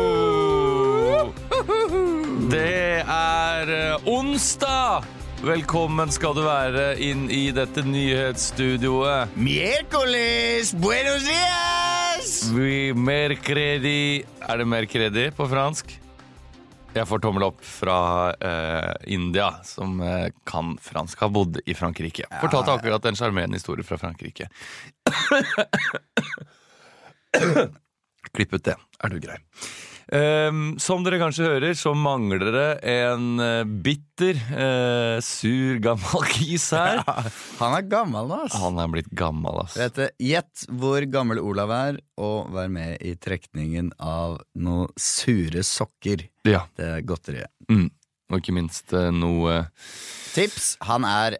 Åh! Det er eh, onsdag! Velkommen skal du være inn i dette nyhetsstudioet. Miércoles, buenos días! Vi mer kredi Er det mer kredi på fransk? Jeg får tommel opp fra eh, India, som eh, kan fransk. Har bodd i Frankrike. Fortalte akkurat en sjarmerende historie fra Frankrike. Klipp ut det. Er du grei? Ehm, som dere kanskje hører, så mangler det en eh, bitter, eh, sur, gammel kis her. Han er gammel nå, ass. Han er blitt gammel, ass. Vet du, Gjett hvor gammel Olav er, og vær med i trekningen av noen sure sokker. Ja, Det er godteriet. mm. Og ikke minst eh, noe Tips han er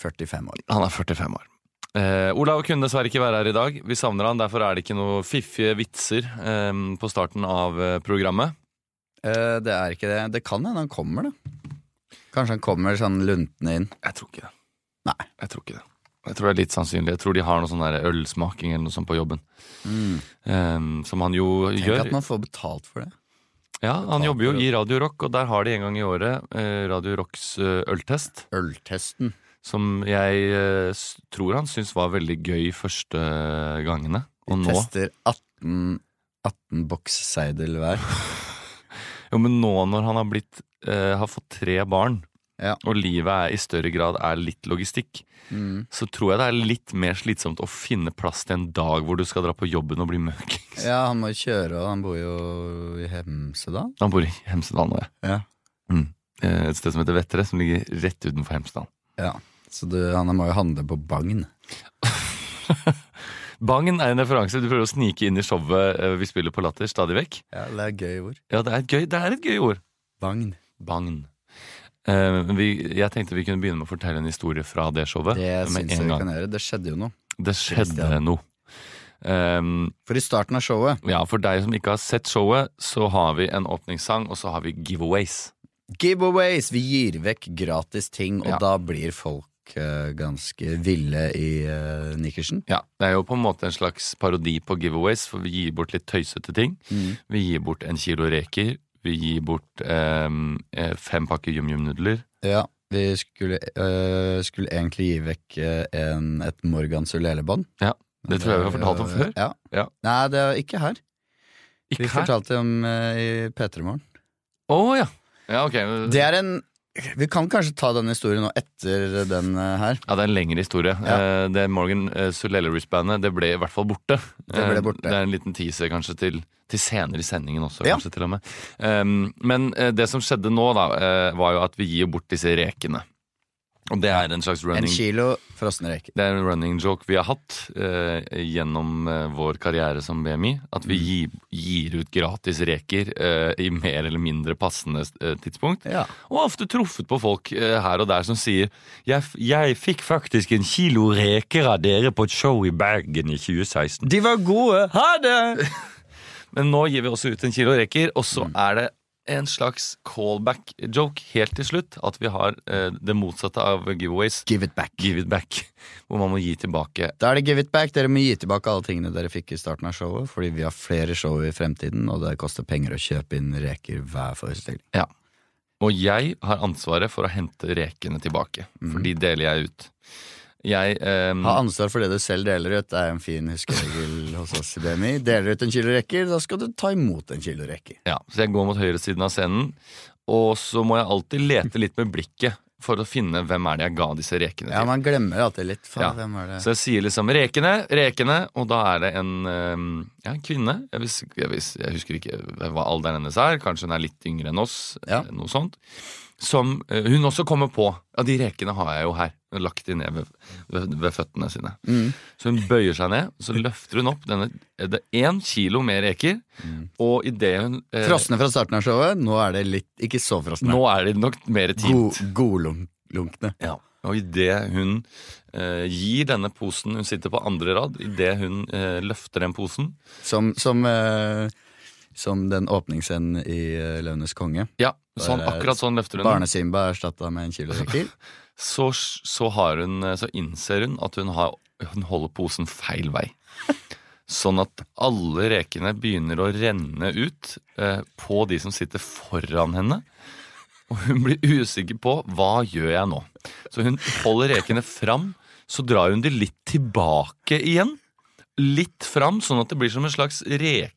45 år. Han er 45 år. Eh, Olav kunne dessverre ikke være her i dag. Vi savner han, Derfor er det ikke noe fiffige vitser eh, på starten av eh, programmet. Eh, det er ikke det. Det kan hende han kommer, da. Kanskje han kommer sånn luntende inn. Jeg tror ikke det. Nei. Jeg tror ikke det. Jeg tror det er litt sannsynlig. Jeg tror de har noe sånn der ølsmaking eller noe sånt på jobben. Eh, som han jo Mm. Tenk gjør. at man får betalt for det. Ja, Han jobber jo i Radio Rock, og der har de en gang i året eh, Radio Rocks eh, øltest. Øltesten. Som jeg eh, s- tror han syns var veldig gøy første gangene. Og nå, Tester 18, 18 boksseidel hver. jo, men nå når han har, blitt, eh, har fått tre barn, Ja. og livet er, i større grad er litt logistikk, Mm. så tror jeg det er litt mer slitsomt å finne plass til en dag hvor du skal dra på jobben og bli møkings. Ja, han må jo kjøre, og han bor jo i Hemsedal. Han bor i Hemsedal nå, ja. Ja. Mm. Eh, Et sted som heter Vettere, som ligger rett utenfor Hemsedal. Så du, han må jo handle på Bagn. Bangen er en referanse du prøver å snike inn i showet eh, vi spiller på Latter stadig vekk. Ja, det er gøy ord. Ja, det er et gøy, det er et gøy ord. Bagn. Bagn. Eh, vi, jeg tenkte vi kunne begynne med å fortelle en historie fra det showet. Det med syns jeg en vi gang. kan gjøre. Det skjedde jo noe. Det skjedde Christian. noe. Ehm, For i starten av showet ja, For deg som ikke har sett showet, så har vi en åpningssang, og så har vi giveaways. Giveaways! Vi gir vekk gratis ting, og Ja. da blir folk eh, ganske ville i eh, nikkersen. Ja, Det er jo på en måte en slags parodi på giveaways, for vi gir bort litt tøysete ting. Mm. Vi gir bort en kilo reker. Vi gir bort ehm, eh, fem pakker yum-yum-nudler. Ja, vi skulle, eh, skulle egentlig gi vekk eh, en, et Morgan Sulele-bånd. Ja, det tror jeg vi har fortalt om før. Ja. Ja. Nei, det er ikke her. Ikke Vi her? fortalte om eh, i P3 Morgen. Å ja. Ja, ok. Det er en Vi kan kanskje ta den historien nå etter den eh, her. Ja, det er en lengre historie. Ja. Eh, Det Morgan eh, Sulelleris-bandet det ble i hvert fall borte. Det ble Eh, borte. Det er en liten teaser kanskje til, til senere i sendingen også. Ja. kanskje til og med. Um, men eh, det som skjedde nå, da, eh, var jo at vi gir bort disse rekene. Og det er en slags En running, kilo frosne reker. det er en running joke vi har hatt eh, gjennom eh, vår karriere som BMI. At Mm. vi gir, gir ut gratis reker eh, i mer eller mindre passende eh, tidspunkt. Ja. Og ofte truffet på folk eh, her og der som sier jeg, f- jeg fikk faktisk en kilo reker av dere på et show i Bergen i 2016. De var gode! Ha det! Mm. Men nå gir vi også ut en kilo reker, og så er det en slags callback-joke helt til slutt. At vi har eh, det motsatte av giveaways. Give it back. Give it back. Hvor man må gi tilbake. Da er det give it back. Dere må gi tilbake alle tingene dere fikk i starten av showet, fordi vi har flere show i fremtiden, og det koster penger å kjøpe inn reker hver forestilling. Ja. Og jeg har ansvaret for å hente rekene tilbake. For de deler jeg ut. Jeg ehm, Mm. Ha ansvar for det du selv deler ut, det er en fin huskeregel hos oss i BMI. Deler ut en kilo reker, da skal du ta imot en kilo reker. Ja, så jeg går mot høyresiden av scenen, og så må jeg alltid lete litt med blikket. for å finne hvem er det jeg ga disse rekene til. Ja, man glemmer alltid litt. Faen, Ja. hvem er det? Så jeg sier liksom 'rekene, rekene', og da er det en, eh, ja, en kvinne. Jeg, vis, jeg, vis, jeg husker ikke hva alderen hennes er, kanskje hun er litt yngre enn oss. Ja. eh, Noe sånt. Som eh, hun også kommer på. Ja, de rekene har jeg jo her. Hun har Lagt de ned ved, ved, ved føttene sine. Mm. Så hun bøyer seg ned, så løfter hun opp denne er Det er én kilo med reker, Mm. og idet hun eh, Frosne fra starten av showet. Nå er det litt Ikke så frosne. Nå er de nok mer tint. God- Godlunkne. Ja. Og idet hun eh, gir denne posen Hun sitter på andre rad. Idet hun eh, løfter den posen Som, som, eh, som den åpningsscenen i eh, Løvenes konge. Ja, sånn, Bare- akkurat sånn løfter hun den. Barnesimba er erstatta med en kilo reker. Så, så, har hun, eh, så innser hun at hun, har, hun holder posen feil vei. Sånn at alle rekene begynner å renne ut eh, på de som sitter foran henne. Og hun blir usikker på hva gjør jeg nå. Så hun holder rekene fram, så drar hun de litt tilbake igjen. Litt fram, sånn at det blir som en slags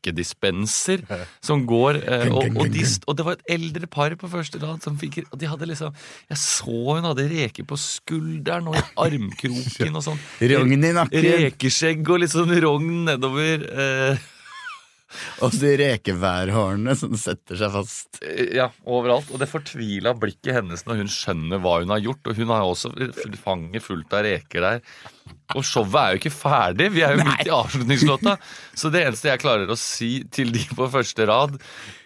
rekedispenser som går. Eh, og, og, de, st- og det var et eldre par på første rad som fikk Og de hadde liksom Jeg så hun hadde reker på skulderen og i armkroken og sånn. Rogn i nakken, Rekeskjegg og litt sånn rogn nedover. Eh, og de rekeværhårene som setter seg fast. Eh, ja, overalt. Og det fortvila blikket hennes når hun skjønner hva hun har gjort. Og hun har jo også f- fanget fullt av reker der. Og showet er jo ikke ferdig, vi er jo midt i avslutningslåta. Så det eneste jeg klarer å si til de på første rad,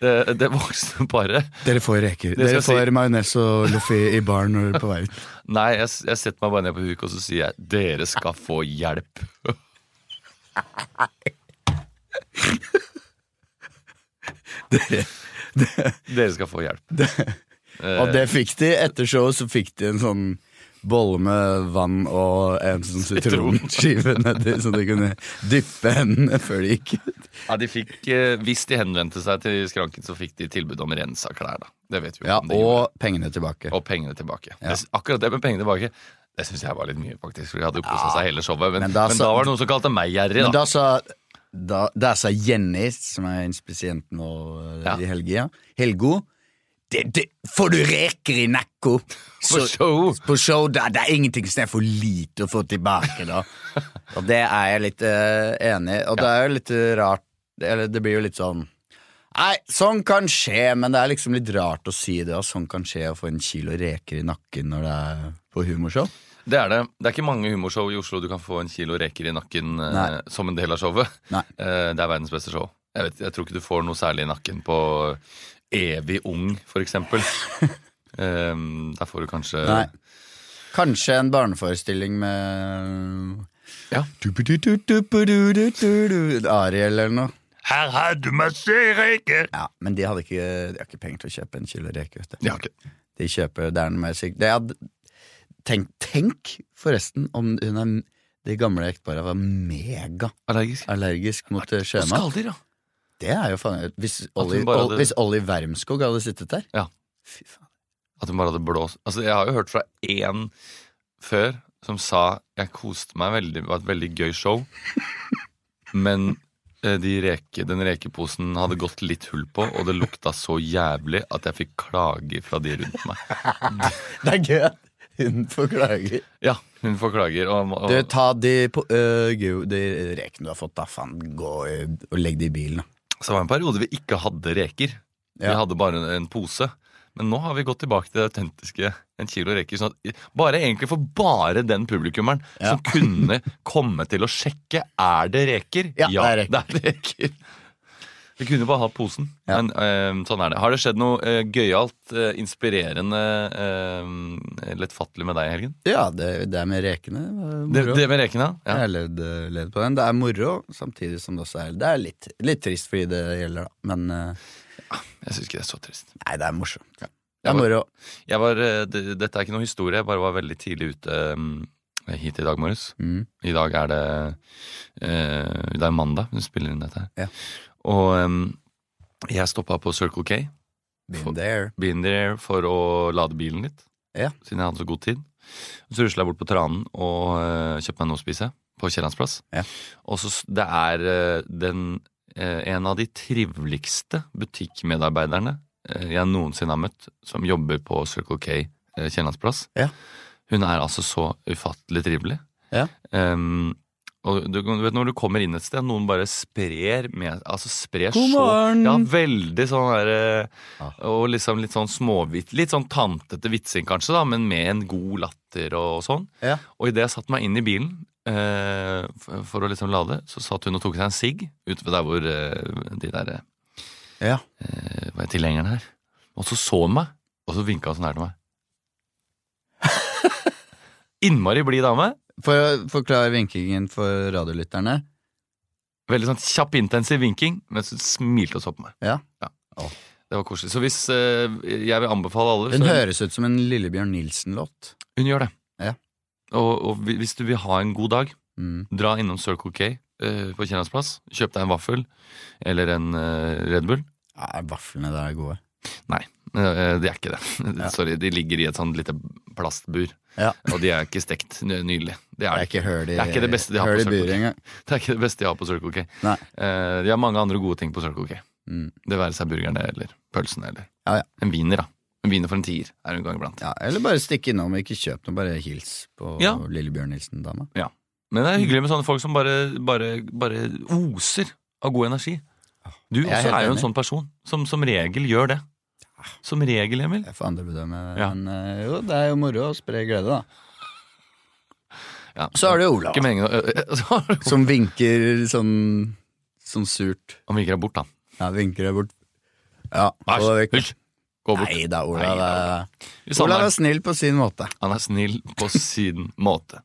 eh, det voksne paret Dere får reker. skal Dere jeg si. får majones og loffi i baren når dere er på vei ut. Nei, jeg, s- jeg setter meg bare ned på huk og så sier jeg dere skal få hjelp. Dere- Dere skal få hjelp. Og det fikk de. Etter showet så fikk de en sånn bolle med vann og en sånn sitronskive nedi, så de kunne dyppe hendene før de gikk ut. Ja, de fikk, eh, hvis de henvendte seg til skranken, så fikk de tilbud om rensa klær. da. Det vet vi jo Ja, om de gjorde. og pengene tilbake. og pengene tilbake. Jeg sy- Akkurat det med pengene tilbake det syns jeg var litt mye, faktisk. For de hadde jo kosa seg hele showet. Men, Men men, da da, sa- var det noen som kalte meg gjerrig, Men da. da sa, da, der sa Jenny, som er inspisient nå eh, Ja. i helga, Helgo det, det, Får du reker i nakko For show! på show da, det er ingenting som er for lite å få tilbake, da. Og det er jeg litt eh, enig i. Og det er jo litt eh, rart Eller det blir jo litt sånn Nei, sånn kan skje, men det er liksom litt rart å si det. Og sånn kan skje å få en kilo reker i nakken når det er på humorshow. Det er det. Det er ikke mange humorshow i Oslo du kan få en kilo reker i nakken eh, Nei. som en del av showet. Nei. Eh, det er verdens beste show. Jeg, vet, jeg tror ikke du får noe særlig i nakken på Evig ung, for eksempel. Ehm, der får du kanskje Nei. Kanskje en barneforestilling med Ja. Du-bu-du-du-du-bu-du-du-du-du. Ariel eller noe. Her har du masse reker! Ja, Men de hadde ikke, de har ikke penger til å kjøpe en kilo reker. vet du. Ja, ok. De kjøper Det er noe mer sykt. Det hadde, tenk, tenk forresten om hun er det gamle ekteparet var megaallergisk Allergisk. mot eh, Og sjømat. skalldyr, ja. Det er jo faen Hvis Olli, hun bare hadde- hvis Olli Wermskog hadde sittet der Ja. Fy faen. At hun bare hadde blåst Altså Jeg har jo hørt fra én før som sa Jeg koste meg veldig, det var et veldig gøy show, men eh, de reke, den rekeposen hadde gått litt hull på, og det lukta så jævlig at jeg fikk klager fra de rundt meg. Det er gøy at hun forklager. Ja, hun får klager. Og, og, Du, ta de, på, øh, gud, de rekene du har fått, da. Faen, gå øh, og legg de i bilen, da. Så det var en periode vi ikke hadde reker. Vi Ja. hadde bare en- en pose. Men nå har vi gått tilbake til det autentiske. En kilo reker. Sånn at, bare egentlig for bare den publikummeren som kunne komme til å sjekke er det reker. Ja, det er det er reker. Vi kunne bare hatt posen. Ja. Men eh, sånn er det. Har det skjedd noe eh, gøyalt, eh, inspirerende, uh, lettfattelig med deg i helgen? Ja, det, det er med rekene. var Det, moro. det med rekene? Ja. Jeg har levd, levd på den. Det er moro, samtidig som det også er Det er litt, litt trist fordi det gjelder, da. Men eh, Jeg syns ikke det er så trist. nei, det er morsomt. Det Jeg er var- moro. Jeg var, eh, det, dette er ikke noe historie, jeg bare var veldig tidlig ute mm, hit i dag morges. Mm. I dag er det eh, Det er mandag hun spiller inn dette. her. Ja. Og em, jeg stoppa på Circle K, Been there. been there, for å lade bilen litt. Ja. Siden jeg hadde så god tid. Så rusla jeg bort på Tranen og eh, kjøpte meg noe å spise på Kiellands plass. Ja. Og så s- det er eh, den eh, en av de triveligste butikkmedarbeiderne eh, jeg noensinne har møtt, som jobber på Circle K eh, Kiellands plass. Ja. Hun er altså så ufattelig trivelig. Ja. Ehm, og du, du vet når du kommer inn et sted, noen bare sprer med Altså sprer God så morgen! Ah. Ja, veldig sånn derre Ja. Og liksom litt sånn småvitt Litt sånn tantete vitsing, kanskje, da, men med en god latter og sånn. Ja. Og idet jeg satte meg inn i bilen eh, for, for å liksom lade, så satt hun og tok seg en sigg ute ved der hvor eh, de der eh, Ja. hva er tilhengerne her. Og så så hun meg, og så vinka hun sånn her til meg. Innmari blid dame. For å forklare vinkingen for radiolytterne. Veldig sånn kjapp, intensiv vinking, mens hun smilte og så på meg. Ja. Det var koselig. Så hvis eh, jeg vil anbefale alle Den så, høres ut som en Lillebjørn Nilsen-låt. Hun gjør det. Ja. Og, og hvi- hvis du vil ha en god dag, Mm. dra innom Circle K eh, på Kiellands plass. Kjøp deg en vaffel eller en eh, Red Bull. Ja, vaflene der er gode. Eh, De er ikke det. Ja. Sorry, de ligger i et sånn lite plastbur. Ja. Og de er ikke stekt ny- nylig. Det Det er, er det ikke. ikke høl i, Det er ikke det beste de har på høl i Circle buret K. engang. det er ikke det beste jeg har på Circle K. Nei. Eh, de har mange andre gode ting på Circle K. Mm. Det være seg burgerne eller pølsene eller Ja, ja. en wiener, da. En wiener for en tier er en gang iblant. Ja, eller bare stikke innom, ikke kjøp noe, bare hils på Ja. Lillebjørn Nilsen-dama. Men det er hyggelig med sånne folk som bare, bare, bare oser av god energi. Du Jeg er også helt er jo en enig. sånn person som som regel gjør det. Som regel, Emil. Jeg får andre bedømme, Ja. men eh, jo, det er jo moro å spre glede, da. Ja. Så er det jo Olav, Ikke meningen å ø- ø- så har du- som vinker sånn, sånn surt. Han vinker deg bort, da. Ja, vinker deg bort. Ja, og Æsj! det- Hysj! Gå bort. Nei da, Nei Olav. da, er- Vi savner Olav deg. er snill på sin måte. Han er snill på sin måte.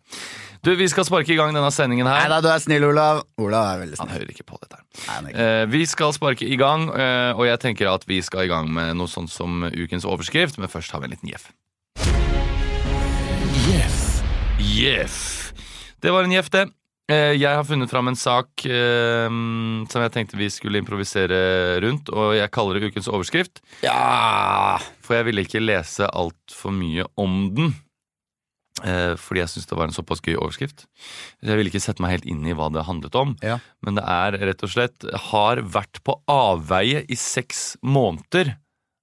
Du, vi skal sparke i gang denne sendingen Nei her. da, du er snill, Olav. Olav er veldig Han snill. hører ikke på dette. her. Nei, han er ikke- Eh, vi skal sparke i gang, eh, og jeg tenker at vi skal i gang med noe sånt som ukens overskrift, men først har vi en liten jeff. Jeff. Det var en jeff, det. Eh, Jeg har funnet fram en sak eh, som jeg tenkte vi skulle improvisere rundt, og jeg kaller det ukens overskrift, Ja! for jeg ville ikke lese altfor mye om den. eh, Fordi jeg syns det var en såpass gøy overskrift. Så Jeg ville ikke sette meg helt inn i hva det handlet om. Ja. Men det er rett og slett Har vært på avveie i seks måneder.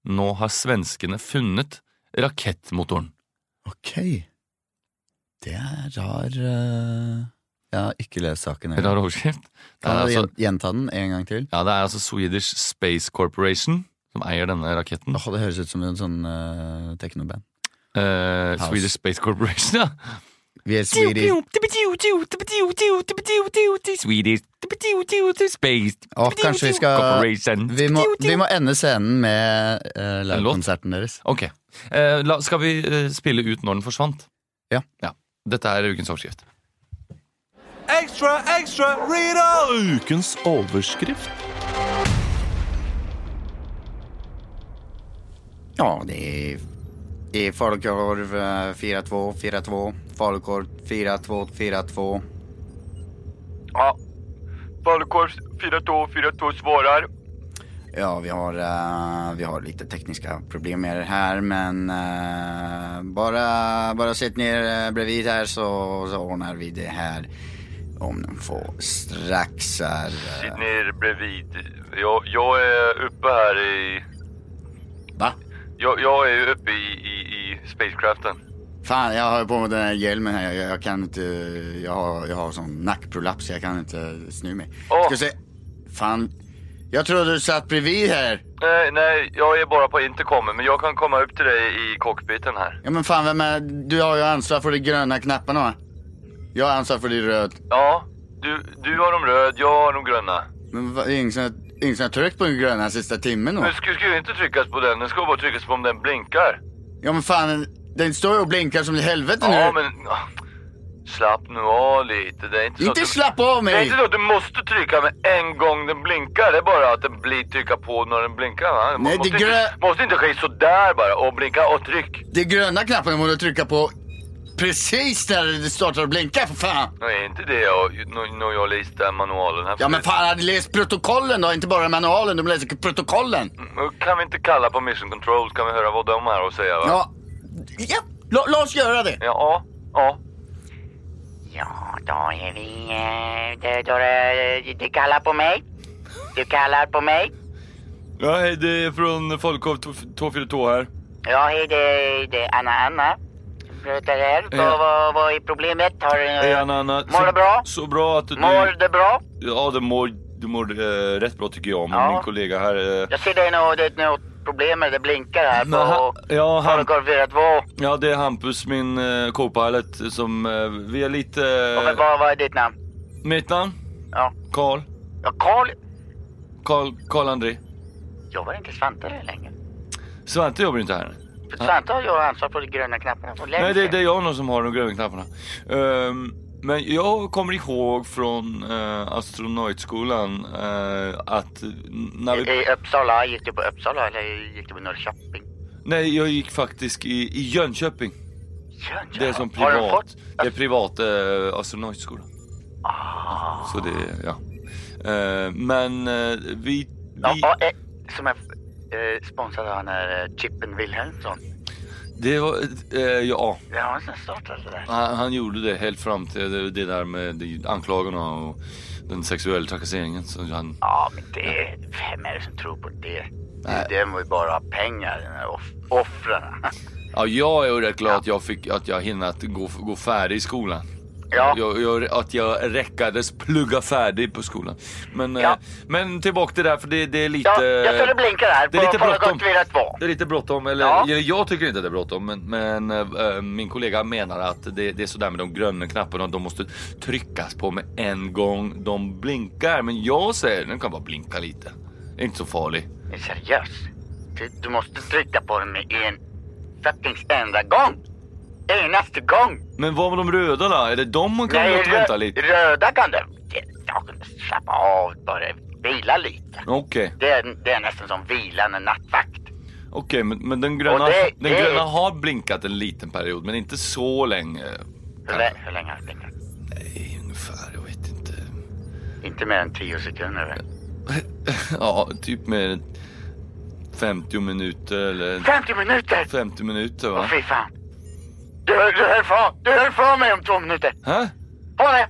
Nå har svenskene funnet rakettmotoren. Ok. Det er rar eh, Jeg har ikke lest saken heller. Rar overskrift. Det er Kan du altså, gjen- gjenta den en gang til? ja, det er altså Swedish Space Corporation som eier denne raketten. Åh, det høres ut som en sånn eh, teknoband. Eh, House. Swedish Space Corporation, ja. Vi er Swedish. Swedish Space Åh, kanskje vi skal Corporation. vi må, vi må ende scenen med uh, livekonserten deres. Ok. Eh, la, skal vi eh, spille ut når den forsvant? Ja. Dette er ukens overskrift. Ekstra, ekstra, Rita! Ukens overskrift. Ja, det er i falukorv eh, 4-2, 4-2. Falukorv 4-2, 4-2. Ja. Falukorv 4242 svarar. Ja, vi har, eh, vi har lite tekniska problem med det här, men eh, bara, bara sitt ner eh, bredvid här så, så ordnar vi det här om den får strax. Här. eh. Sitt ner bredvid. Jag, jag är uppe här i... Va? Jag, jag är ju uppe i, i, i spacecraften. Fan, jag har ju på mig den här hjälmen här. Jag, jag kan inte... Jag har, jag har sån nackprolaps, jag kan inte snu mig. Åh. Ska se. Fan. Jag trodde du satt bredvid här. Nej, nej, jag är bara på intercomen, men jag kan komma upp till dig i cockpiten här. Ja men fan, vem är... Du har ju ansvar för de gröna knapparna va? Jag har ansvar för de röda. Ja, du, du har de röd, jag har de gröna. Men hva, ingen som har- ingen som har tryckt på den gröna sista timmen då? Nu ska, ska ju inte tryckas på den, den ska bara tryckas på om den blinkar. Ja men fan, den- den står ju och blinkar som i helvete Ja, nu. men... ah, Slapp nu av lite. Det är inte så Inte att du... slapp av Det är mig! inte så att du måste trycka med en gång den blinkar. Det är bara att den blir trycka på när den blinkar. Va? Nej, det måste, inte, grö- måste inte ske sådär bara. Och blinka och tryck. Det är gröna knappen må du trycka på precis när det startar att blinka för fan. Nej, är inte det jag... Nu, nu jag läste manualen här. Ja men fan, hade läst protokollen då, inte bara manualen, du läser protokollen. Nu Kan vi inte kalla på mission control? Kan vi höra vad de har att säga? Va? Ja, ja la, la oss göra det. Ja, ja. Ja, då är vi... eh, det- Då, eh, du kallar på mig. Du kallar på mig. Ja, hej, det är från Folkov 242 här. Ja, hej, det, det är Anna-Anna. Pratar här. Ja. Vad, vad, vad är problemet? Har, eh, Ja, Anna, Anna, Mår så- du bra? Så bra att du... Mår du bra? Ja, du mår, du mår eh, rätt bra tycker jag. Men Ja. min kollega här... eh, Jag ser det är något, det är något problem med det blinkar här men han- på ja, han, Holmgård 42. ja, det är Hampus, min eh, co-pilot, som... eh, vi är lite... Och men Uh, Vad, vad är ditt namn? mitt namn? Ja, Karl. ja Karl. Karl, Karl André. Jobbar inte Svante där längre? Svante jobbar inte här. För Svante har ju ansvar för de gröna knapparna för länge Nej, det, sedan. det är jag nog som har de gröna knapparna. Ehm, men jag kommer ihåg från uh, astronautskolan eh, att när vi... I, I Uppsala, gick du på Uppsala eller gick du på Norrköping? Nej, jag gick faktiskt i, i Jönköping. Jönköping. Det är som Har du privat. fått? Det är privat eh, astronautskola. Ah. Så det, ja. Eh, men eh, vi... Ja, vi och, eh, som är eh, sponsrad av han här eh, Chippen Wilhelmsson. det var, eh, ja, Det är han som startade sånn altså, det där. han, han gjorde det helt fram till det, det där med de anklagarna och den sexuella trakasseringen. Så han, Ja, men det... Vem är det som tror på det? Det, det må ju bara ha pengar, de här off- offren. ja, jag är ju rätt glad att jag, fick, att jag hinner att gå, gå färdig i skolan. Ja. Jag, jag, att jag räckades plugga färdig på skolan. Men, eh, Ja. men tillbaka till det här för det, det är lite... Ja, jag står och blinkar här Det är lite på Holmgård bråttom. 42. Det är lite bråttom, eller Ja. jag, jag tycker inte det är bråttom men, men eh, eh, min kollega menar att det, det är sådär med de gröna knapparna, de måste tryckas på med en gång de blinkar. Men jag säger, den kan bara blinka lite. Det är inte så farlig. Är du seriös? Du, du måste trycka på den med en fucking enda gång. Enaste gång. Men vad med de röda då? Är det de man kan låta rö- vänta lite? röda kan du... Det- Jag kan slappa av, bara vila lite. Okej, Det är, det är nästan som vilande nattvakt. okej, men, men den, gröna, Och det- den det- gröna har blinkat en liten period, men inte så länge. Hur, lä- hur länge har du blinkat? Nej, ungefär, jag vet inte. Inte mer än 10 sekunder. väl? Ja, typ med 50 minuter eller 50 minuter! 50 minuter va? Åh fy fan. Du, höll- du höll för, du höll för mig om två minuter. Hä? På det!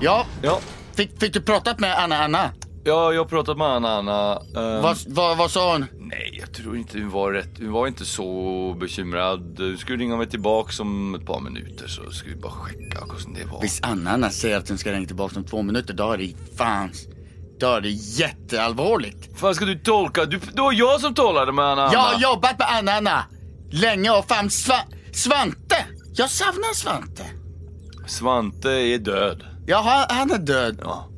Ja, Ja. fick, fick du pratat med Anna-Anna? Ja, jag har pratat med Anna. Anna. Ehm, Vad, vad, vad sa hon? Nej, jag tror inte hon var rätt. Hon var inte så bekymrad. Hon skulle ringa mig tillbaka om ett par minuter så skulle vi bara checka hur det var. Hvis Anna-Anna säger att hon ska ringa tillbaka om två minuter, då är det fan... Då är det jätteallvarligt. Fan ska du tolka? Du, det var jag som talade med Anna. Jag har Anna. jobbat med Anna-Anna länge och fan Sva Svante! Jag savnar Svante. Svante är död. Jaha, han är död. Ja.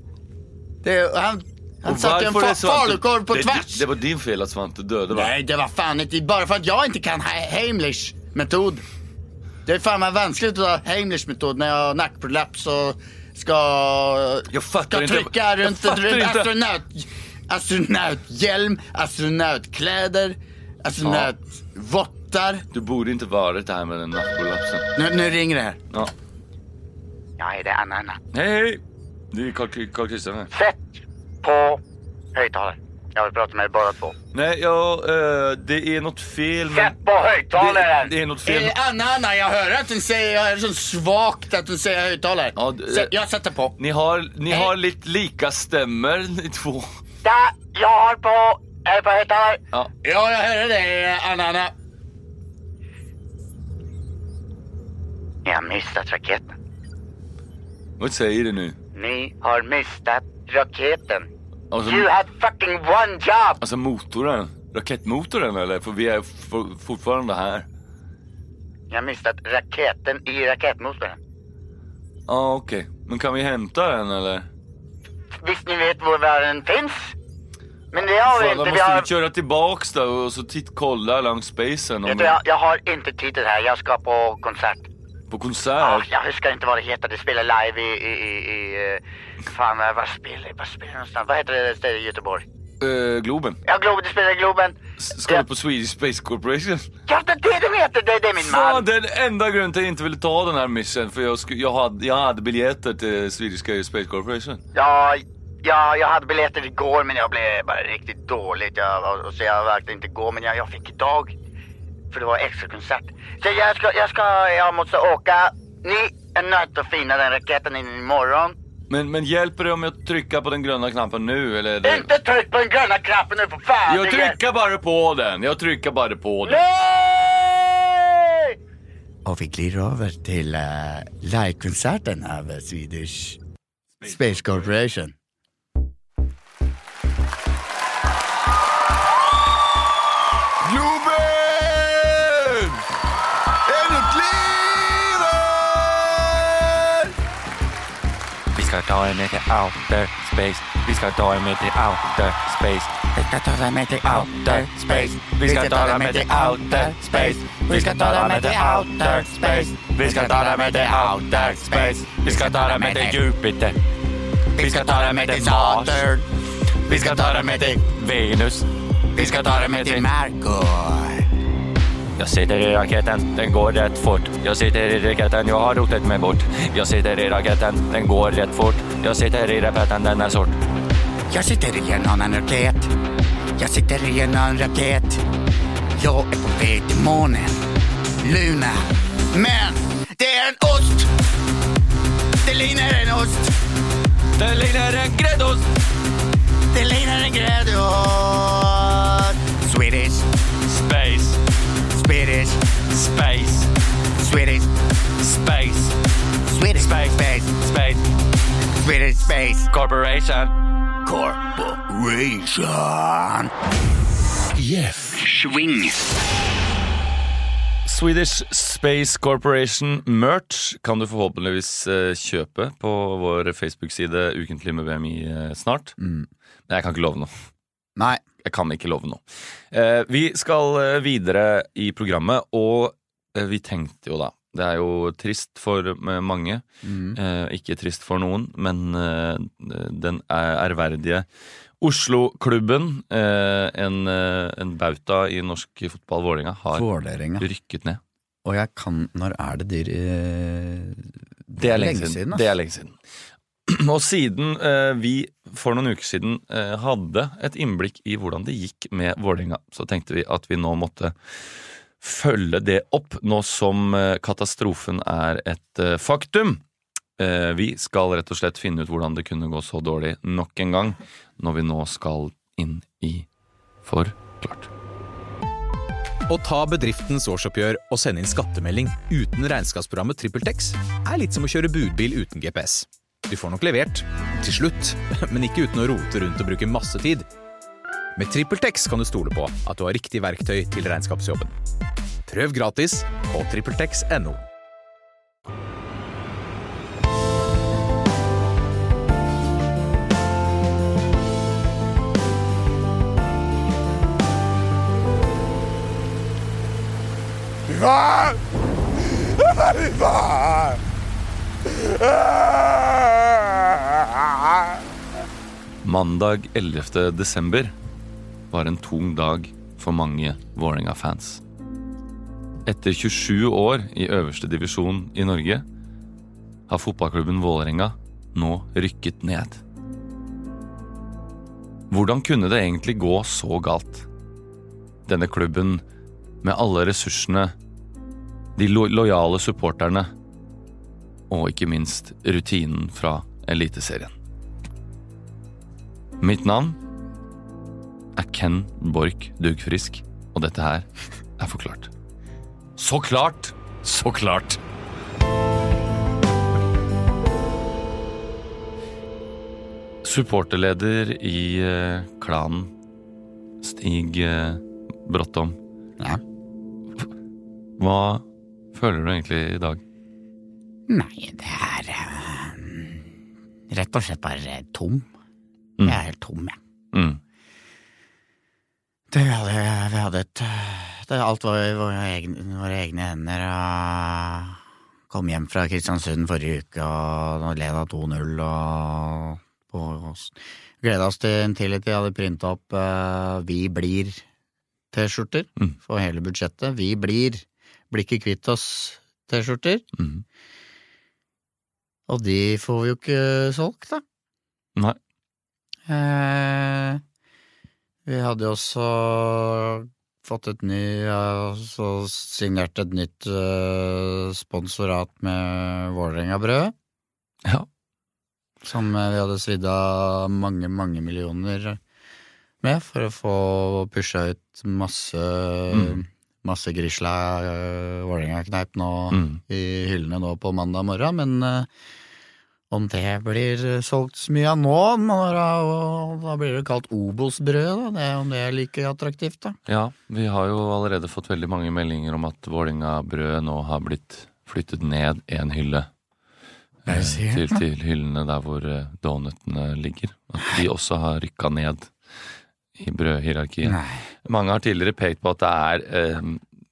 Det, han han Och satte en varför är fa Svante- falukorv på det, tvärs. Det, det var din fel att Svante dödade va? Nej, det var fan inte... Bara för att jag inte kan He- Heimlich metod. Det är fan vad vanskligt att ha Heimlich metod när jag har nackprolaps och ska... Jag fattar ska inte- trycka jag runt fattar runt inte. astronaut... Astronauthjälm, astronautkläder, astronautvottar. Du borde inte varit här med den nattkollapsen. Nu, nu ringer det här. Ja. Ja, det är Anna-Anna. Hej, hej! Det är Carl- Carl Christian här. Sätt på högtalaren. Jag vill prata med er båda två. Nej, ja, eh, det är något fel med... Sätt på Det, högtalaren! det är något fel. Eh, Anna, Anna, jag hör att hon säger... Jag är så svagt att hon säger högtalare. Ja, d- Sätt- jag sätter på. Ni har, ni Eh. har lite lika stämmer ni två. Ja, jag har på... Är det på högtalaren? Ja. Ja, jag hörde dig, eh, Anna, Anna. Ni har missat raketen. Vad säger du nu? Ni har missat raketen. Alltså, You had fucking one job! alltså motorn? Raketmotorn eller? För vi är for, fortfarande här. Ni har missat raketen i raketmotorn. Ja, okej. Men kan vi hämta den eller? Visst ni vet var världen finns? Men det har vi Fan, då inte. måste Vi har... vi köra tillbaks då och så titt, kolla längs spacen. Om Vet du, den, jag, jag har inte tid till det här. Jag ska på konsert. på Ah, konsert. jag huskar inte vad det heter. Det spelar live i... i, i, i eh, fan, eh, vad spelar vad spelar det någonstans? Vad heter det stället i Göteborg? Eh, Globen. Ja, Globen. Det spelar i Globen. S- Ska Ja. du på Swedish Space Corporation? Ja, det är det de heter! Det, det är min Fan, man. den enda grunden till att jag inte ville ta den här missen för jag, sku, jag, hade, jag hade biljetter till Swedish Space Corporation. Ja, ja, jag hade biljetter igår men jag blev bara riktigt dåligt. Jag, och- och så jag verkligen inte gå men jag, jag fick idag. För det var extra konsert. Så jag ska, jag ska, jag måste åka. Ni är nöjda att finna den raketen in imorgon. Men, men hjälper det om jag trycker på den gröna knappen nu? Eller är det... Inte tryck på den gröna knappen nu för fan! Jag det hjälper. trycker bara på den! Jag trycker bare på den. Nej! Og vi glir over til uh, livekonserten av Swedish Space Corporation. Globen! Er du klar? Vi skal ta deg med til outer space. Vi skal ta deg med til outer space. Vi skal ta deg med til outer space. Vi skal ta deg med til outer space. Vi skal ta deg med til outer space. Vi skal ta deg med til outer space. Vi skal ta deg med til Jupiter. Vi skal ta deg med til Saturn. Vi skal ta deg med til Venus. Vi skal ta deg med til Jeg sitter i raketten, den går rett fort. Jeg sitter i raketten, jeg har rotet meg bort. Jeg sitter i raketten, den går rett fort. Jeg sitter i raketten, den er sort. Jag sitter i en annan raket. Jag sitter i en annan raket. Jag är på väg till månen. Luna. Men det är en ost. Det liknar en ost. Den ligner en greddost! Det liknar en gräddost. Swedish. Space, Swedish. space, Swedish. space, Swedish. Space. Space. space. Swedish space. Corporation. Corporation. Swedish Space Corporation merch kan du forhåpentligvis eh, kjøpe på vår Facebook-side Ukentlig med BMI eh, snart. Men jeg kan ikke love noe. Nei. Jeg kan ikke love noe. Eh, vi skal eh, videre i programmet, og eh, vi tenkte jo da Det er jo trist for eh, mange, eh, ikke trist for noen, men eh, den er ærverdige Oslo-klubben, eh, en, eh, en bauta i norsk fotball, Vålerenga, har Vålerenga. rykket ned. Og jeg kan Når er det dyr Det er lenge siden. ass. det er lenge siden. Og siden eh, vi for noen uker siden eh, hadde et innblikk i hvordan det gikk med Vålerenga, så tenkte vi at vi nå måtte følge det opp, nå som eh, katastrofen er et eh, faktum. Eh, vi skal rett og slett finne ut hvordan det kunne gå så dårlig nok en gang, når vi nå skal inn i Forklart. Å ta bedriftens årsoppgjør og sende inn skattemelding uten regnskapsprogrammet TrippelTex er litt som å kjøre budbil uten GPS. Du får nok levert, til slutt, men ikke uten å rote rundt og bruke masse tid. Med TrippelTex kan du stole på at du har riktig verktøy til regnskapsjobben. Prøv gratis på TrippelTex.no. Mandag 11. desember var en tung dag for mange Vålerenga-fans. Etter 27 år i øverste divisjon i Norge har fotballklubben Vålerenga nå rykket ned. Hvordan kunne det egentlig gå så galt? Denne klubben med alle ressursene, de lo lojale supporterne og ikke minst rutinen fra Eliteserien. Mitt navn er Ken Borch Dugfrisk, og dette her er forklart. Så klart! Så klart! Supporterleder i eh, klanen, Stig eh, Bråttom. Ja. Hva føler du egentlig i dag? Nei, det er eh, rett og slett bare tom. Mm. Jeg er helt tom, jeg. Mm. Det vi hadde, vi hadde et det, Alt var i våre egne, våre egne hender. Og kom hjem fra Kristiansund forrige uke og nå leda 2-0 og på oss. Gleda oss til en tillit de hadde printa opp eh, Vi blir-T-skjorter Mm. for hele budsjettet. Vi blir blir ikke kvitt oss-T-skjorter. Mm. Og de får vi jo ikke solgt, da. Nei. Eh, vi hadde jo også fått et ny altså signert et nytt eh, sponsorat med Vålerenga Brød. Ja. Som eh, vi hadde svidd av mange, mange millioner med for å få pusha ut masse Masse Grisla eh, Vålerenga-kneip nå Mm. i hyllene nå på mandag morgen, men eh, om det blir solgt så mye av nå, må da, da blir det kalt Obos-brød, da. Det, om det er like attraktivt, da. Ja, vi har jo allerede fått veldig mange meldinger om at Vålinga-brødet nå har blitt flyttet ned en hylle. eh, Til, til hyllene der hvor eh, donutene ligger. At de også har rykka ned i brødhierarkiet. Mange har tidligere pekt på at det er eh,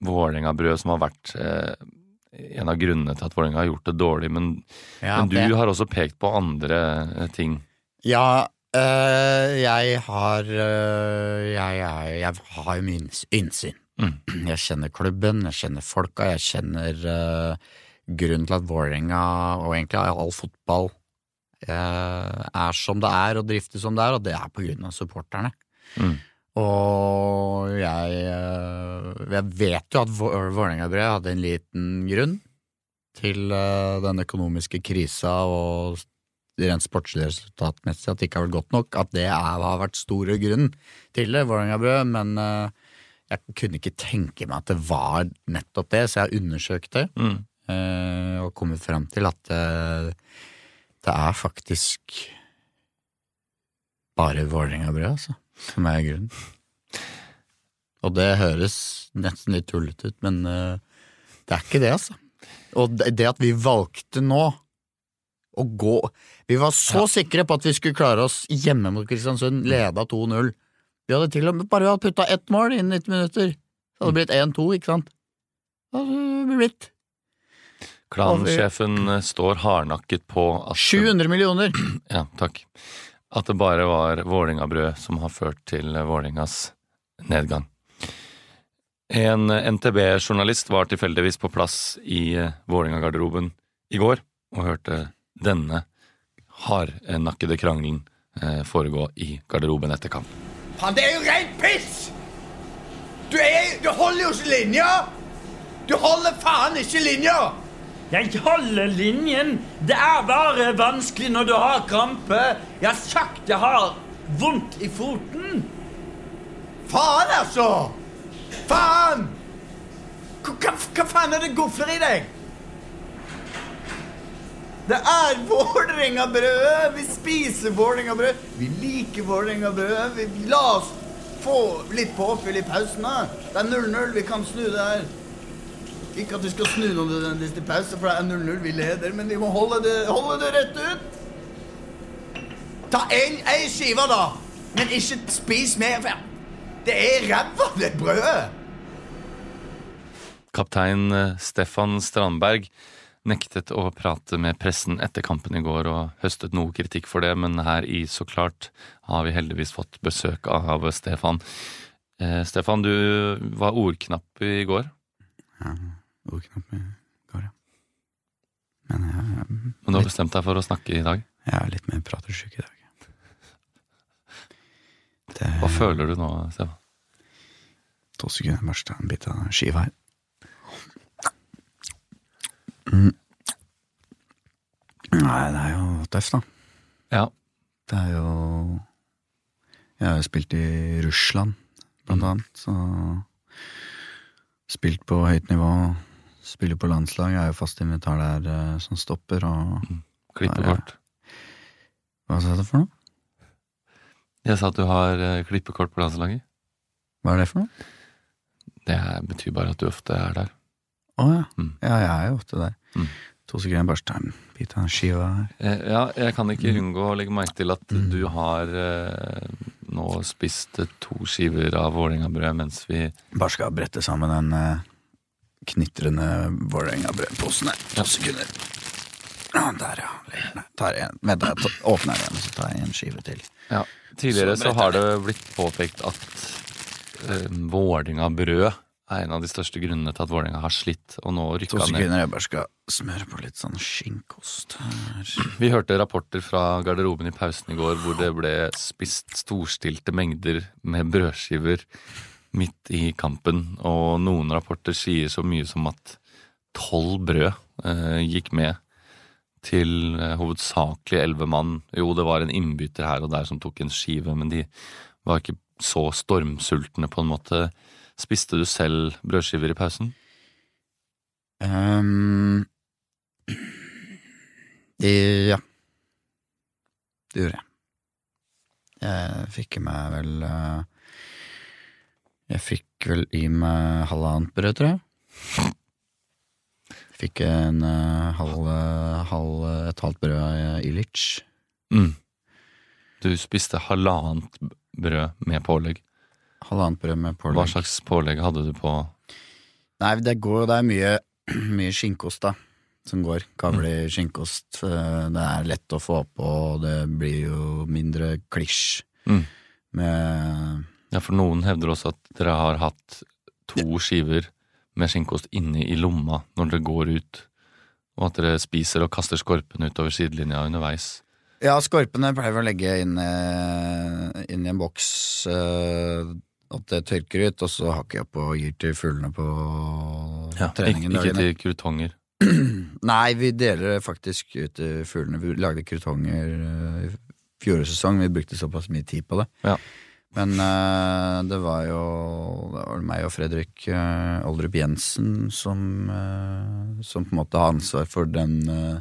Vålerenga-brød som har vært eh, en av grunnene til at Vålerenga har gjort det dårlig. Men, men du har også pekt på andre eh, ting. Ja, øh, jeg har øh, jeg, jeg, jeg har jo mye inns- innsyn. Jeg kjenner klubben, jeg kjenner folka, jeg kjenner øh, grunnen til at Vålerenga, og egentlig all fotball, øh, er som det er og driftes som det er, og det er på grunn av supporterne. Mm. Og jeg, øh, jeg vet jo at Vå- Vålerenga-brevet hadde en liten grunn til øh, den økonomiske krisa og rent sportslig resultatmessig at det ikke har vært godt nok, at det er, har vært store grunnen til det, Vålerenga-brød, men eh, jeg kunne ikke tenke meg at det var nettopp det, så jeg har undersøkt det Mm. eh, og kommet fram til at eh, det er faktisk bare Vålerenga-brød, altså, som er grunnen. Og det høres nesten litt tullete ut, men eh, det er ikke det, altså. Og det det at vi valgte nå å gå Vi var så sikre på at vi skulle klare oss hjemme mot Kristiansund, leda 2-0. Vi hadde til og med bare putta ett mål innen 90 minutter. Så hadde det blitt 1-2, ikke sant? Da hadde det blitt Klansjefen eh, står hardnakket på at 700 millioner! Ja, takk. At det bare var Vålingabrød som har ført til Vålingas nedgang. En eh, NTB-journalist var tilfeldigvis på plass i eh, Vålinga-garderoben i går og hørte denne hardnakkede krangelen eh, foregå i garderoben etter kamp. Faen, det er jo rent piss! Du, er, du holder jo ikke linja! Du holder faen ikke linja! Jeg holder linjen. Det er bare vanskelig når du har krampe. Jeg har sagt jeg har vondt i foten. Faen, altså! Faen! Hva, hva, hva faen er det gofler i deg? Det er Vålerenga-brød! Vi spiser Vålerenga-brød. Vi liker Vålerenga-brød. Vi- La oss få litt påfyll i pausen. da. Det er 0-0. Vi kan snu det her. Ikke at vi skal snu noe nødvendigvis til pause, for det er 0-0. Vi leder, men vi må holde det, holde det rett ut. Ta en, en skive, da. Men ikke spis mer. for Det er ræva, det brødet! Kaptein eh, Stefan Strandberg nektet å prate med pressen etter kampen i går og høstet noe kritikk for det, men her i Så klart har vi heldigvis fått besøk av Stefan. Eh, Stefan, du var ordknapp i går, Ordknapp i går, ja. Men jeg, men du har bestemt deg for å snakke i dag. jeg er litt mer pratesjuk i dag. Det Hva føler du nå, Stefan? to sekunder, jeg børste en bit av skiva her. Mm. Nei, det er jo tøft, da. Ja, Det er jo Jeg har jo spilt i Russland, Mm. blant annet, så Spilt på høyt nivå, spiller på landslag, jeg er jo fast invitar der eh, som stopper, og Mm. klippekort. Hva sa du for noe? Jeg sa at du har eh, klippekort på landslaget. Hva er det for noe? Det er- betyr bare at du ofte er der. Å ja. Mm. ja, jeg er jo ofte der. Mm. To sekunder, jeg børster en bit av skiva her. Eh, Ja, jeg kan ikke unngå å legge merke til at du har eh, nå spist eh, to skiver av Vålerenga-brød mens vi Bare skal brette sammen den eh, knitrende Vålerenga-brødposen her. To sekunder. Ja, der, ja. Legger den her. Tar en, vent, jeg tar- åpner den igjen, så tar jeg en skive til. ja, Tidligere Så så, har det blitt påpekt at eh, Vålerenga-brød er en av de største grunnene til at Vålerenga har slitt, og nå To rykka ned. sekunder, jeg bare skal smøre på litt sånn skinkost her. Vi hørte rapporter fra garderoben i pausen i går hvor det ble spist storstilte mengder med brødskiver midt i kampen, og noen rapporter sier så mye som at tolv brød eh, gikk med til eh, hovedsakelig elleve mann. Jo, det var en innbytter her og der som tok en skive, men de var ikke så stormsultne, på en måte. Spiste du selv brødskiver i pausen? Ehm, de, ja. Det gjorde jeg. Jeg fikk i meg vel eh, Jeg fikk vel i meg halvannet brød, tror jeg. Fikk en eh, halv, eh, halv et halvt brød i- i Litch. Du spiste halvannet b- brød med pålegg. Halvannet brød med Hva pålegg. slags pålegg hadde du på Nei, det går jo Det er mye, mye skinkost, da. Som går. Kavli Mm. skinkost. eh, Det er lett å få på, og det blir jo mindre klisj. Mm. Med Ja, for noen hevder også at dere har hatt to skiver med skinkost inne i lomma når dere går ut, og at dere spiser og kaster skorpen utover sidelinja underveis. Ja, skorpene pleier vi å legge inn, eh, inn i en boks. eh, At det tørker ut, og så hakker jeg opp og gir til fuglene på ikke, treningen. ikke dagene. til krutonger. Nei, vi deler det faktisk ut til fuglene. Vi lagde krutonger eh, i fjorårets sesong. Vi brukte såpass mye tid på det. Ja. Men eh, det var jo det var meg og Fredrik eh, Oldrup Jensen som, eh, som på en måte har ansvar for den eh,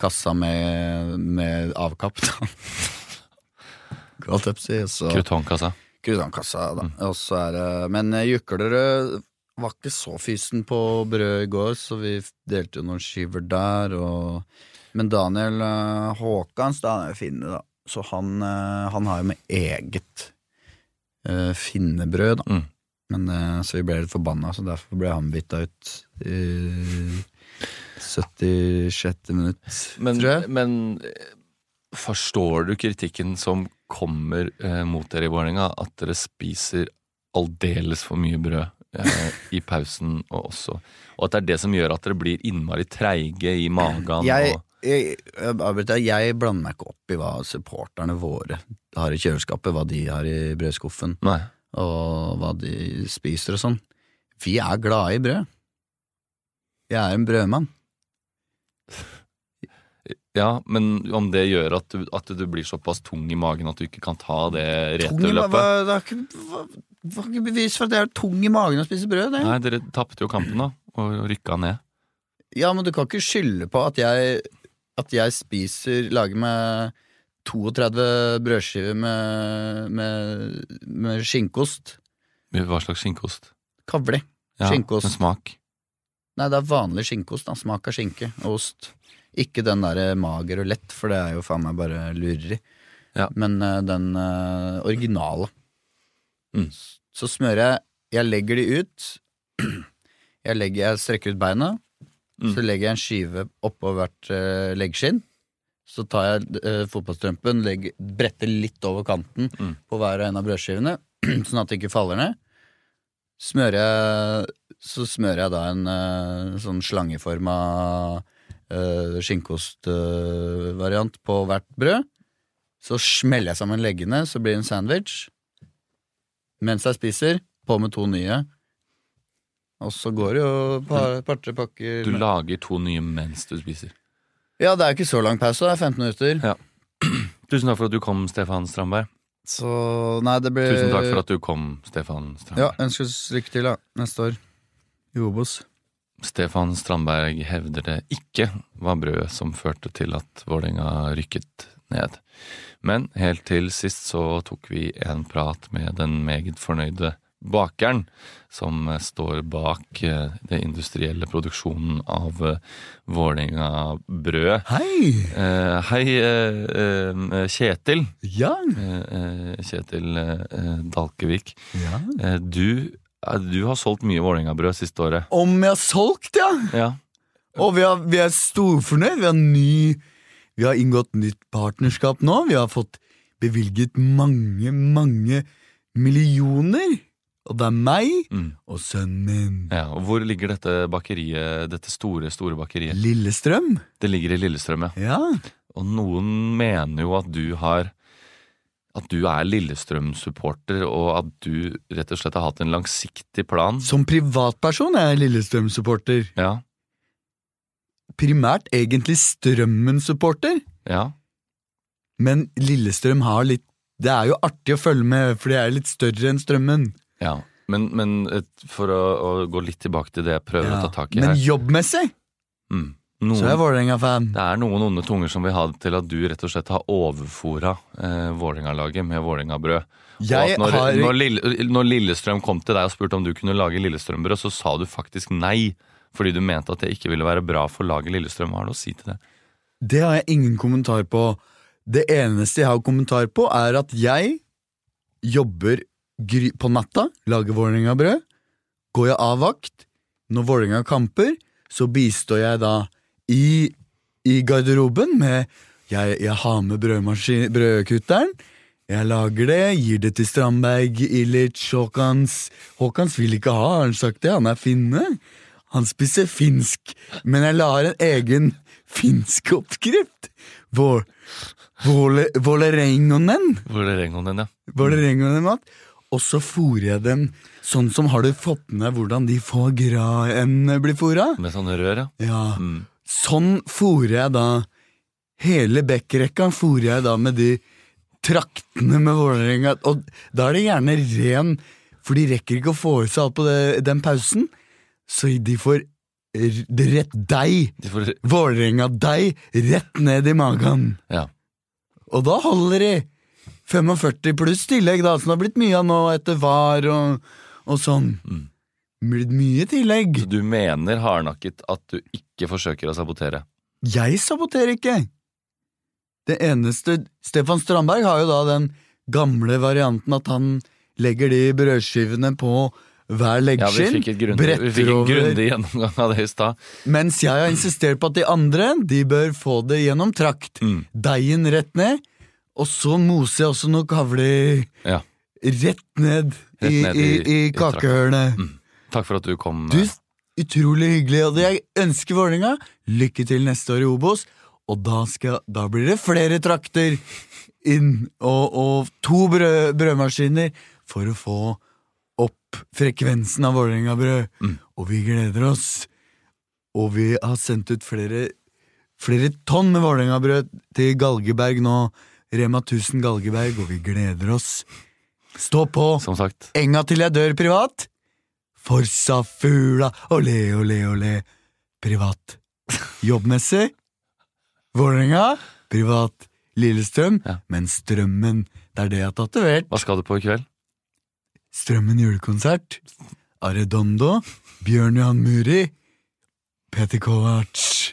kassa med, med avkapp, da. Godt opp, si. og så- Krutongkassa. Krutangkassa, da. Og så er det, men eh, Juklerød var ikke så fysen på brød i går, så vi f- delte jo noen skiver der. Og, men Daniel eh, Haakons, da, han er jo finne, da. Så han, eh, han har jo med eget eh, finnebrød, da. Mm. Men, eh, så vi ble litt forbanna, så derfor ble han bytta ut i 76. minutt, Men, tror jeg. men eh, forstår du kritikken som kommer eh, mot dere i Vålerenga, at dere spiser aldeles for mye brød eh, i pausen og også Og at det er det som gjør at dere blir innmari treige i magen? jeg, og, jeg, jeg, avbryter deg. jeg blander meg ikke opp i hva supporterne våre har i kjøleskapet, hva de har i brødskuffen, nei. og hva de spiser og sånn. Vi er glade i brød. Jeg er en brødmann. Ja, men om det gjør at du, at du blir såpass tung i magen at du ikke kan ta det Tung i ma- returløpet hva- Det er ikke hva- hva er ikke bevis for at jeg er tung i magen og spiser brød. Det. Nei, dere tapte jo kampen da, og rykka ned. Ja, men du kan ikke skylde på at jeg, at jeg spiser Lager meg 32 brødskiver med, med, med skinkost. Hva slags skinkost? Kavli. Ja, Skinkeost. Med smak. Nei, det er vanlig skinkeost. da. Smak av skinke og ost. Ikke den derre mager og lett, for det er jo faen meg bare lureri. Ja. Men eh, den eh, originale. Mm. Så smører jeg Jeg legger de ut. Jeg, legger, jeg strekker ut beina. Mm. Så legger jeg en skive oppå hvert eh, leggskinn. Så tar jeg eh, fotballstrømpen, legger, bretter litt over kanten Mm. på hver og en av brødskivene, sånn at det ikke faller ned. Smører jeg så smører jeg da en eh, sånn slangeforma uh, skinnkostvariant på hvert brød. Så smeller jeg sammen leggene, så blir det en sandwich. Mens jeg spiser, på med to nye. Og så går det jo et par- par-tre pakker Du lager to nye mens du spiser. Ja, det er jo ikke så lang pause, det er 15 minutter. Tusen takk for at du kom, Stefan Strandberg. Så nei, det blir Tusen takk for at du kom, Stefan Ja, Strandberg. ønskes lykke til, da. Neste år. I Obos. Stefan Strandberg hevder det ikke var brødet som førte til at Vålerenga rykket ned. Men helt til sist så tok vi en prat med den meget fornøyde bakeren, som står bak eh, den industrielle produksjonen av eh, Vålerenga-brødet. Hei! Eh, Hei, eh, eh, Kjetil. Ja! Eh, eh, Kjetil eh, eh, Dalkevik. ja. Eh, Du, eh, du har solgt mye Vålerenga-brød siste året. Om jeg har solgt, ja! Ja. Og vi, har, vi er storfornøyd. Vi har, ny, vi har inngått nytt partnerskap nå. Vi har fått bevilget mange, mange millioner. Og det er meg Mm. og sønnen min. Ja, og Hvor ligger dette bakeriet, dette store store bakeriet? Lillestrøm? Det ligger i Lillestrøm, ja. Ja. Og noen mener jo at du har At du er Lillestrøm-supporter, og at du rett og slett har hatt en langsiktig plan. Som privatperson er jeg Lillestrøm-supporter. Ja. primært egentlig Strømmen-supporter, Ja. men Lillestrøm har litt Det er jo artig å følge med, for de er jo litt større enn Strømmen. ja. Men, men et- for å, å gå litt tilbake til det jeg prøver å ta tak i Men her jobbmessig mm. så er jeg noen, Vålerenga-fan. Det er noen onde tunger som vil ha det til at du rett og slett har overfora eh, Vålerenga-laget med Vålerenga-brød. Og Jeg at når, har- når, Lille, når Lillestrøm kom til deg og spurte om du kunne lage Lillestrøm-brød, så sa du faktisk nei. Fordi du mente at det ikke ville være bra for laget Lillestrøm. Hva har du å si til det? Det har jeg ingen kommentar på. Det eneste jeg har kommentar på, er at jeg jobber gry på natta, lager Vålerenga-brød. Går jeg av vakt når Vålerenga kamper, så bistår jeg da i, i garderoben med Jeg, jeg har med brødmaskin, brødkutteren. Jeg lager det, gir det til Strandberg, Ilic, Håkans Håkans vil ikke ha, har han sagt det? Han er finne. Han spiser finsk, men jeg lar en egen finsk oppskrift. Vår- Våle- Vålerengonen. Vålerengoen din, ja. Vålerengonen-mat. Og så fôrer jeg dem sånn som Har du fått med deg hvordan de får graen blir fôra? Med sånne rør, ja. Ja. Mm. Sånn fôrer jeg da Hele bekkrekka fôrer jeg da med de traktene med Vålerenga. Og da er det gjerne ren For de rekker ikke å få i seg alt på det, den pausen. Så de får r- rett deig. De får, Vålerenga-deig rett ned i magen. ja. Og da holder de! 45 pluss tillegg, da, som det har blitt mye av nå etter VAR og, og sånn. Blitt mye tillegg. Så du mener hardnakket at du ikke forsøker å sabotere? Jeg saboterer ikke! Det eneste Stefan Strandberg har jo da den gamle varianten at han legger de brødskivene på hver Ja, vi leggskinn, fikk et grundig, vi bretter fikk en over, grundig gjennomgang av det i stad. mens jeg har insistert på at de andre, de bør få det gjennom trakt. Mm. Deigen rett ned, og så moser jeg også noe kavler Ja. rett ned, Rett ned i, i, i, i- i trakten. kakehørnet. Takk for at du kom. eh, Du, utrolig hyggelig, og jeg ønsker Vålerenga lykke til neste år i Obos. Og da, skal, da blir det flere trakter inn, og, og to brød, brødmaskiner for å få opp frekvensen av Vålerenga-brød. Og vi gleder oss. Og vi har sendt ut flere, flere tonn med Vålerenga-brød til Galgeberg nå. Rema 1000 Galgeberg, og vi gleder oss. Stå på! som sagt. Enga til jeg dør privat. Forsa fugla, ole, ole, ole. Privat. Jobbmessig. Vålerenga. Privat. Lillestrøm. Ja. Men Strømmen, det er det jeg har tatovert. Hva skal du på i kveld? Strømmen julekonsert. Arredondo. Bjørn Johan Muri. Peter Kovac.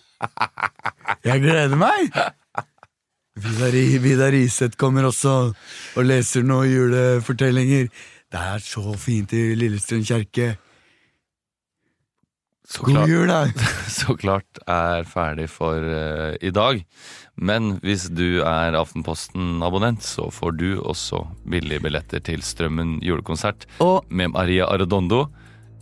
Jeg gleder meg! Vidar, I- Vidar Iseth kommer også og leser noen julefortellinger. Det er så fint i Lillestrøm kjerke. Så God klart- jul, da! så klart er ferdig for eh, i dag. Men hvis du er Aftenposten-abonnent, så får du også billige billetter til Strømmen julekonsert Og med Maria Arredondo,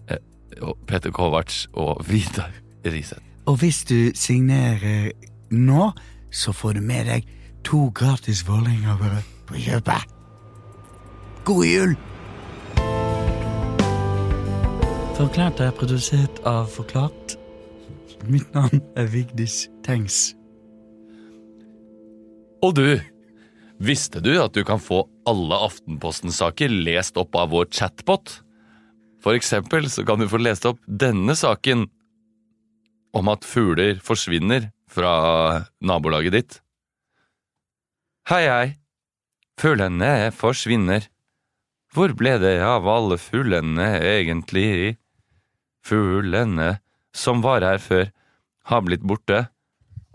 eh, og Peter Kovac og Vidar Riseth. Og hvis du signerer nå, så får du med deg to gratis Vålerenga-brød på kjøpet. God jul! Forklart er produsert av Forklart. Mitt navn er Vigdis Tengs. Og du! Visste du at du kan få alle Aftenposten-saker lest opp av vår chatbot? For eksempel så kan du få lest opp denne saken om at fugler forsvinner fra nabolaget ditt. Hei, hei. Fuglene forsvinner. Hvor ble det av alle fuglene egentlig? Fuglene som var her før, har blitt borte.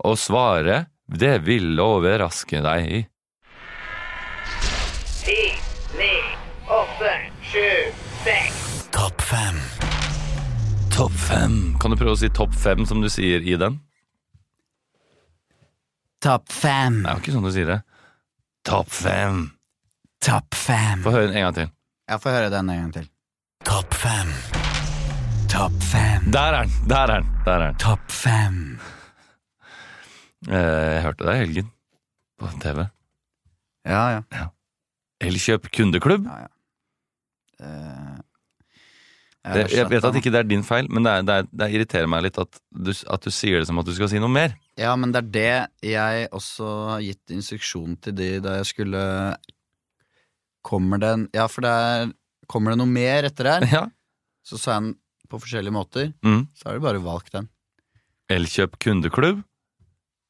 Og svaret, det vil overraske deg. Topp fem. Topp fem. Kan du prøve å si topp fem som du sier i den? Topp fem. Det er jo ikke sånn du sier det. Topp fem. Topp fem. Få høre den en gang til. Jeg får høre den en gang til. Topp fem. Topp fem. Der er den! Der er den! Der er den. Topp fem. Eh, Jeg hørte deg i helgen på TV. Ja, ja. Elkjøp kundeklubb. Eh, Det, jeg vet at ikke det er din feil, men det, er, det, er, det irriterer meg litt at du, at du sier det som at du skal si noe mer. Ja, men det er det jeg også har gitt instruksjon til de da jeg skulle Kommer det en Ja, for det er Kommer det noe mer etter her? Ja. Så sa jeg den på forskjellige måter. Mm. Så har de bare valgt den. Elkjøp kundeklubb.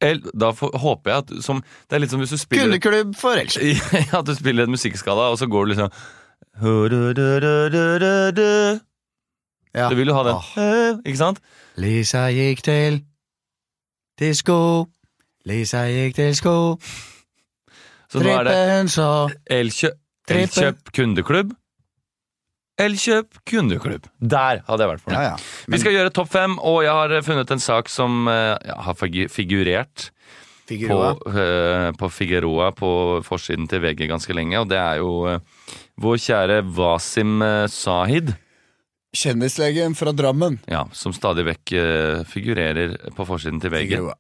El, da får, håper jeg at du- som Det er litt som hvis du spiller Kundeklubb for elsk. Ja, at du spiller en musikkskala, og så går du liksom Du Ja. Ah. vil jo ha den, Eh, Åh. ikke sant? Lisa gikk til disko. Lisa gikk til sko. Så nå er det Trippen så Elkjøp, Trippe. Elkjøp kundeklubb. Elkjøp kundeklubb. Der hadde jeg vært fornøyd. Ja, ja. Vi skal gjøre topp fem, og jeg har eh, funnet en sak som eh, ja, har figu- figurert på, Figueroa. eh, på Figueroa på forsiden til VG ganske lenge, og det er jo eh, vår kjære Wasim eh, Sahid, Kjendislegen fra Drammen. ja, som stadig vekk eh, figurerer på forsiden til VG. Figueroa.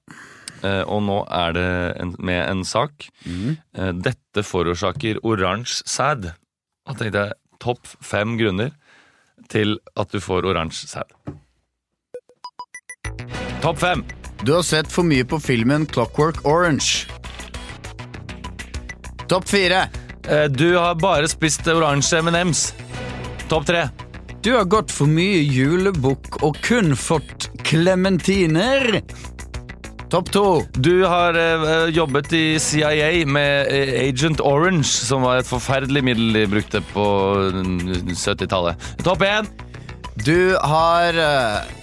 Eh, og nå er det en, med en sak. Eh, dette forårsaker oransje sæd. Da tenkte jeg topp fem grunner til at du får oransje sæd. Topp fem! Du har sett for mye på filmen Clockwork Orange. Topp fire. Eh, du har bare spist oransje M&M's. Topp tre. Du har gått for mye julebukk og kun fått klementiner. Topp to. Du har eh, jobbet i CIA med eh, Agent Orange, som var et forferdelig middel de brukte på mm, 70-tallet. Topp én! Du har eh,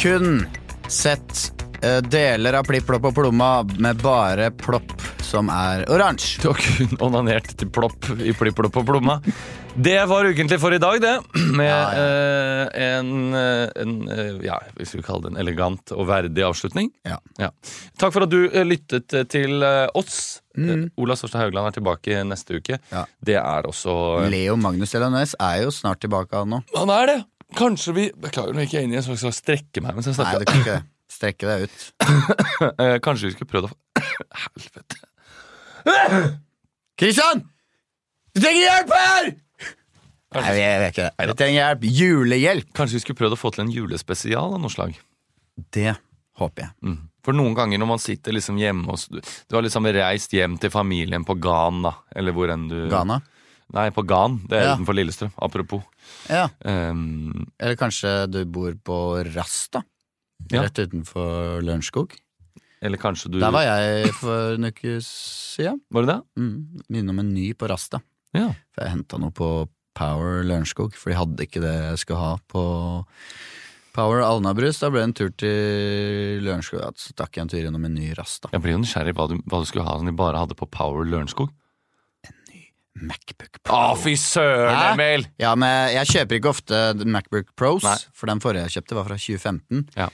kun sett eh, deler av Plipp, Plopp og Plomma med bare Plopp, som er oransje. Du har kun onanert til plopp i plipplopp og plomma. Det var ukentlig for i dag, det. Med eh, en, eh, en eh, Ja, hvis vi kaller det en elegant og verdig avslutning. Ja. Takk for at du eh, lyttet eh, til eh, oss. Eh, Ola Storstad Haugland er tilbake neste uke. Ja. Det er også eh, Leo Magnus Elanes er jo snart tilbake han nå. Han er det! Kanskje vi Beklager, nå gikk jeg inn i en slags strekke meg mens jeg Nei, snakket. du kan ikke strekke deg ut. Eh, Kanskje vi skulle prøvd å Helvete. Kristian! Du trenger hjelp her! Nei, vi gjør ikke det. Vi trenger hjelp. Julehjelp. Kanskje vi skulle prøvd å få til en julespesial av noe slag. Det håper jeg. Mm. For noen ganger når man sitter liksom hjemme hos du, du har liksom reist hjem til familien på Gan, da. Eller hvor enn du Ghana? Nei, på Gan. Det er Ja. utenfor Lillestrøm. Apropos. Ja. Um, Eller kanskje du bor på Rasta? Ja. Rett utenfor Lørenskog. eller kanskje du Der var jeg for en uke siden. Var det det? Mm, innom en ny på Rasta. Ja. For jeg henta noe på Power Lørenskog, for de hadde ikke det jeg skulle ha på Power Alnabrus. Da ble det en tur til Lørenskog. Ja, Så stakk jeg en tur innom en ny Rasta. Jeg blir jo nysgjerrig hva du, hva du skulle ha som de bare hadde på Power Lørenskog. Macbook Å, Pro. fy søren, Hæ? Emil! Ja, men jeg kjøper ikke ofte Macbook Pros, Nei. for den forrige jeg kjøpte var fra 2015. Ja.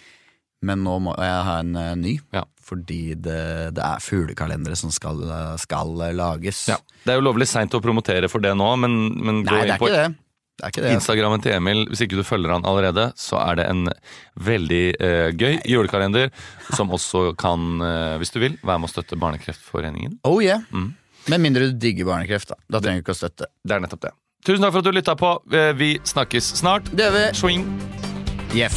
Men nå må jeg ha en eh, ny, Ja. fordi det, det er fuglekalendere som skal, eh, skal eh, lages. Ja. Det er jo lovlig seint å promotere for det nå, men, men gå Nei, det inn er på ikke det. Det er ikke det. altså. Instagrammen til Emil, hvis ikke du følger han allerede, så er det en veldig eh, gøy julekalender, som også kan, eh, hvis du vil, være med å støtte Barnekreftforeningen. Oh yeah. Mm. Med mindre du digger barnekreft, da. Da trenger du ikke å støtte. Det er nettopp det. Tusen takk for at du lytta på. Eh, Vi snakkes snart. Det gjør vi. Swing! Jeff.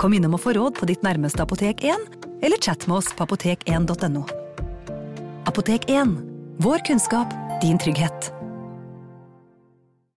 Kom innom og få råd på ditt nærmeste Apotek 1, eller chat med oss på apotek1.no. Apotek 1 vår kunnskap, din trygghet.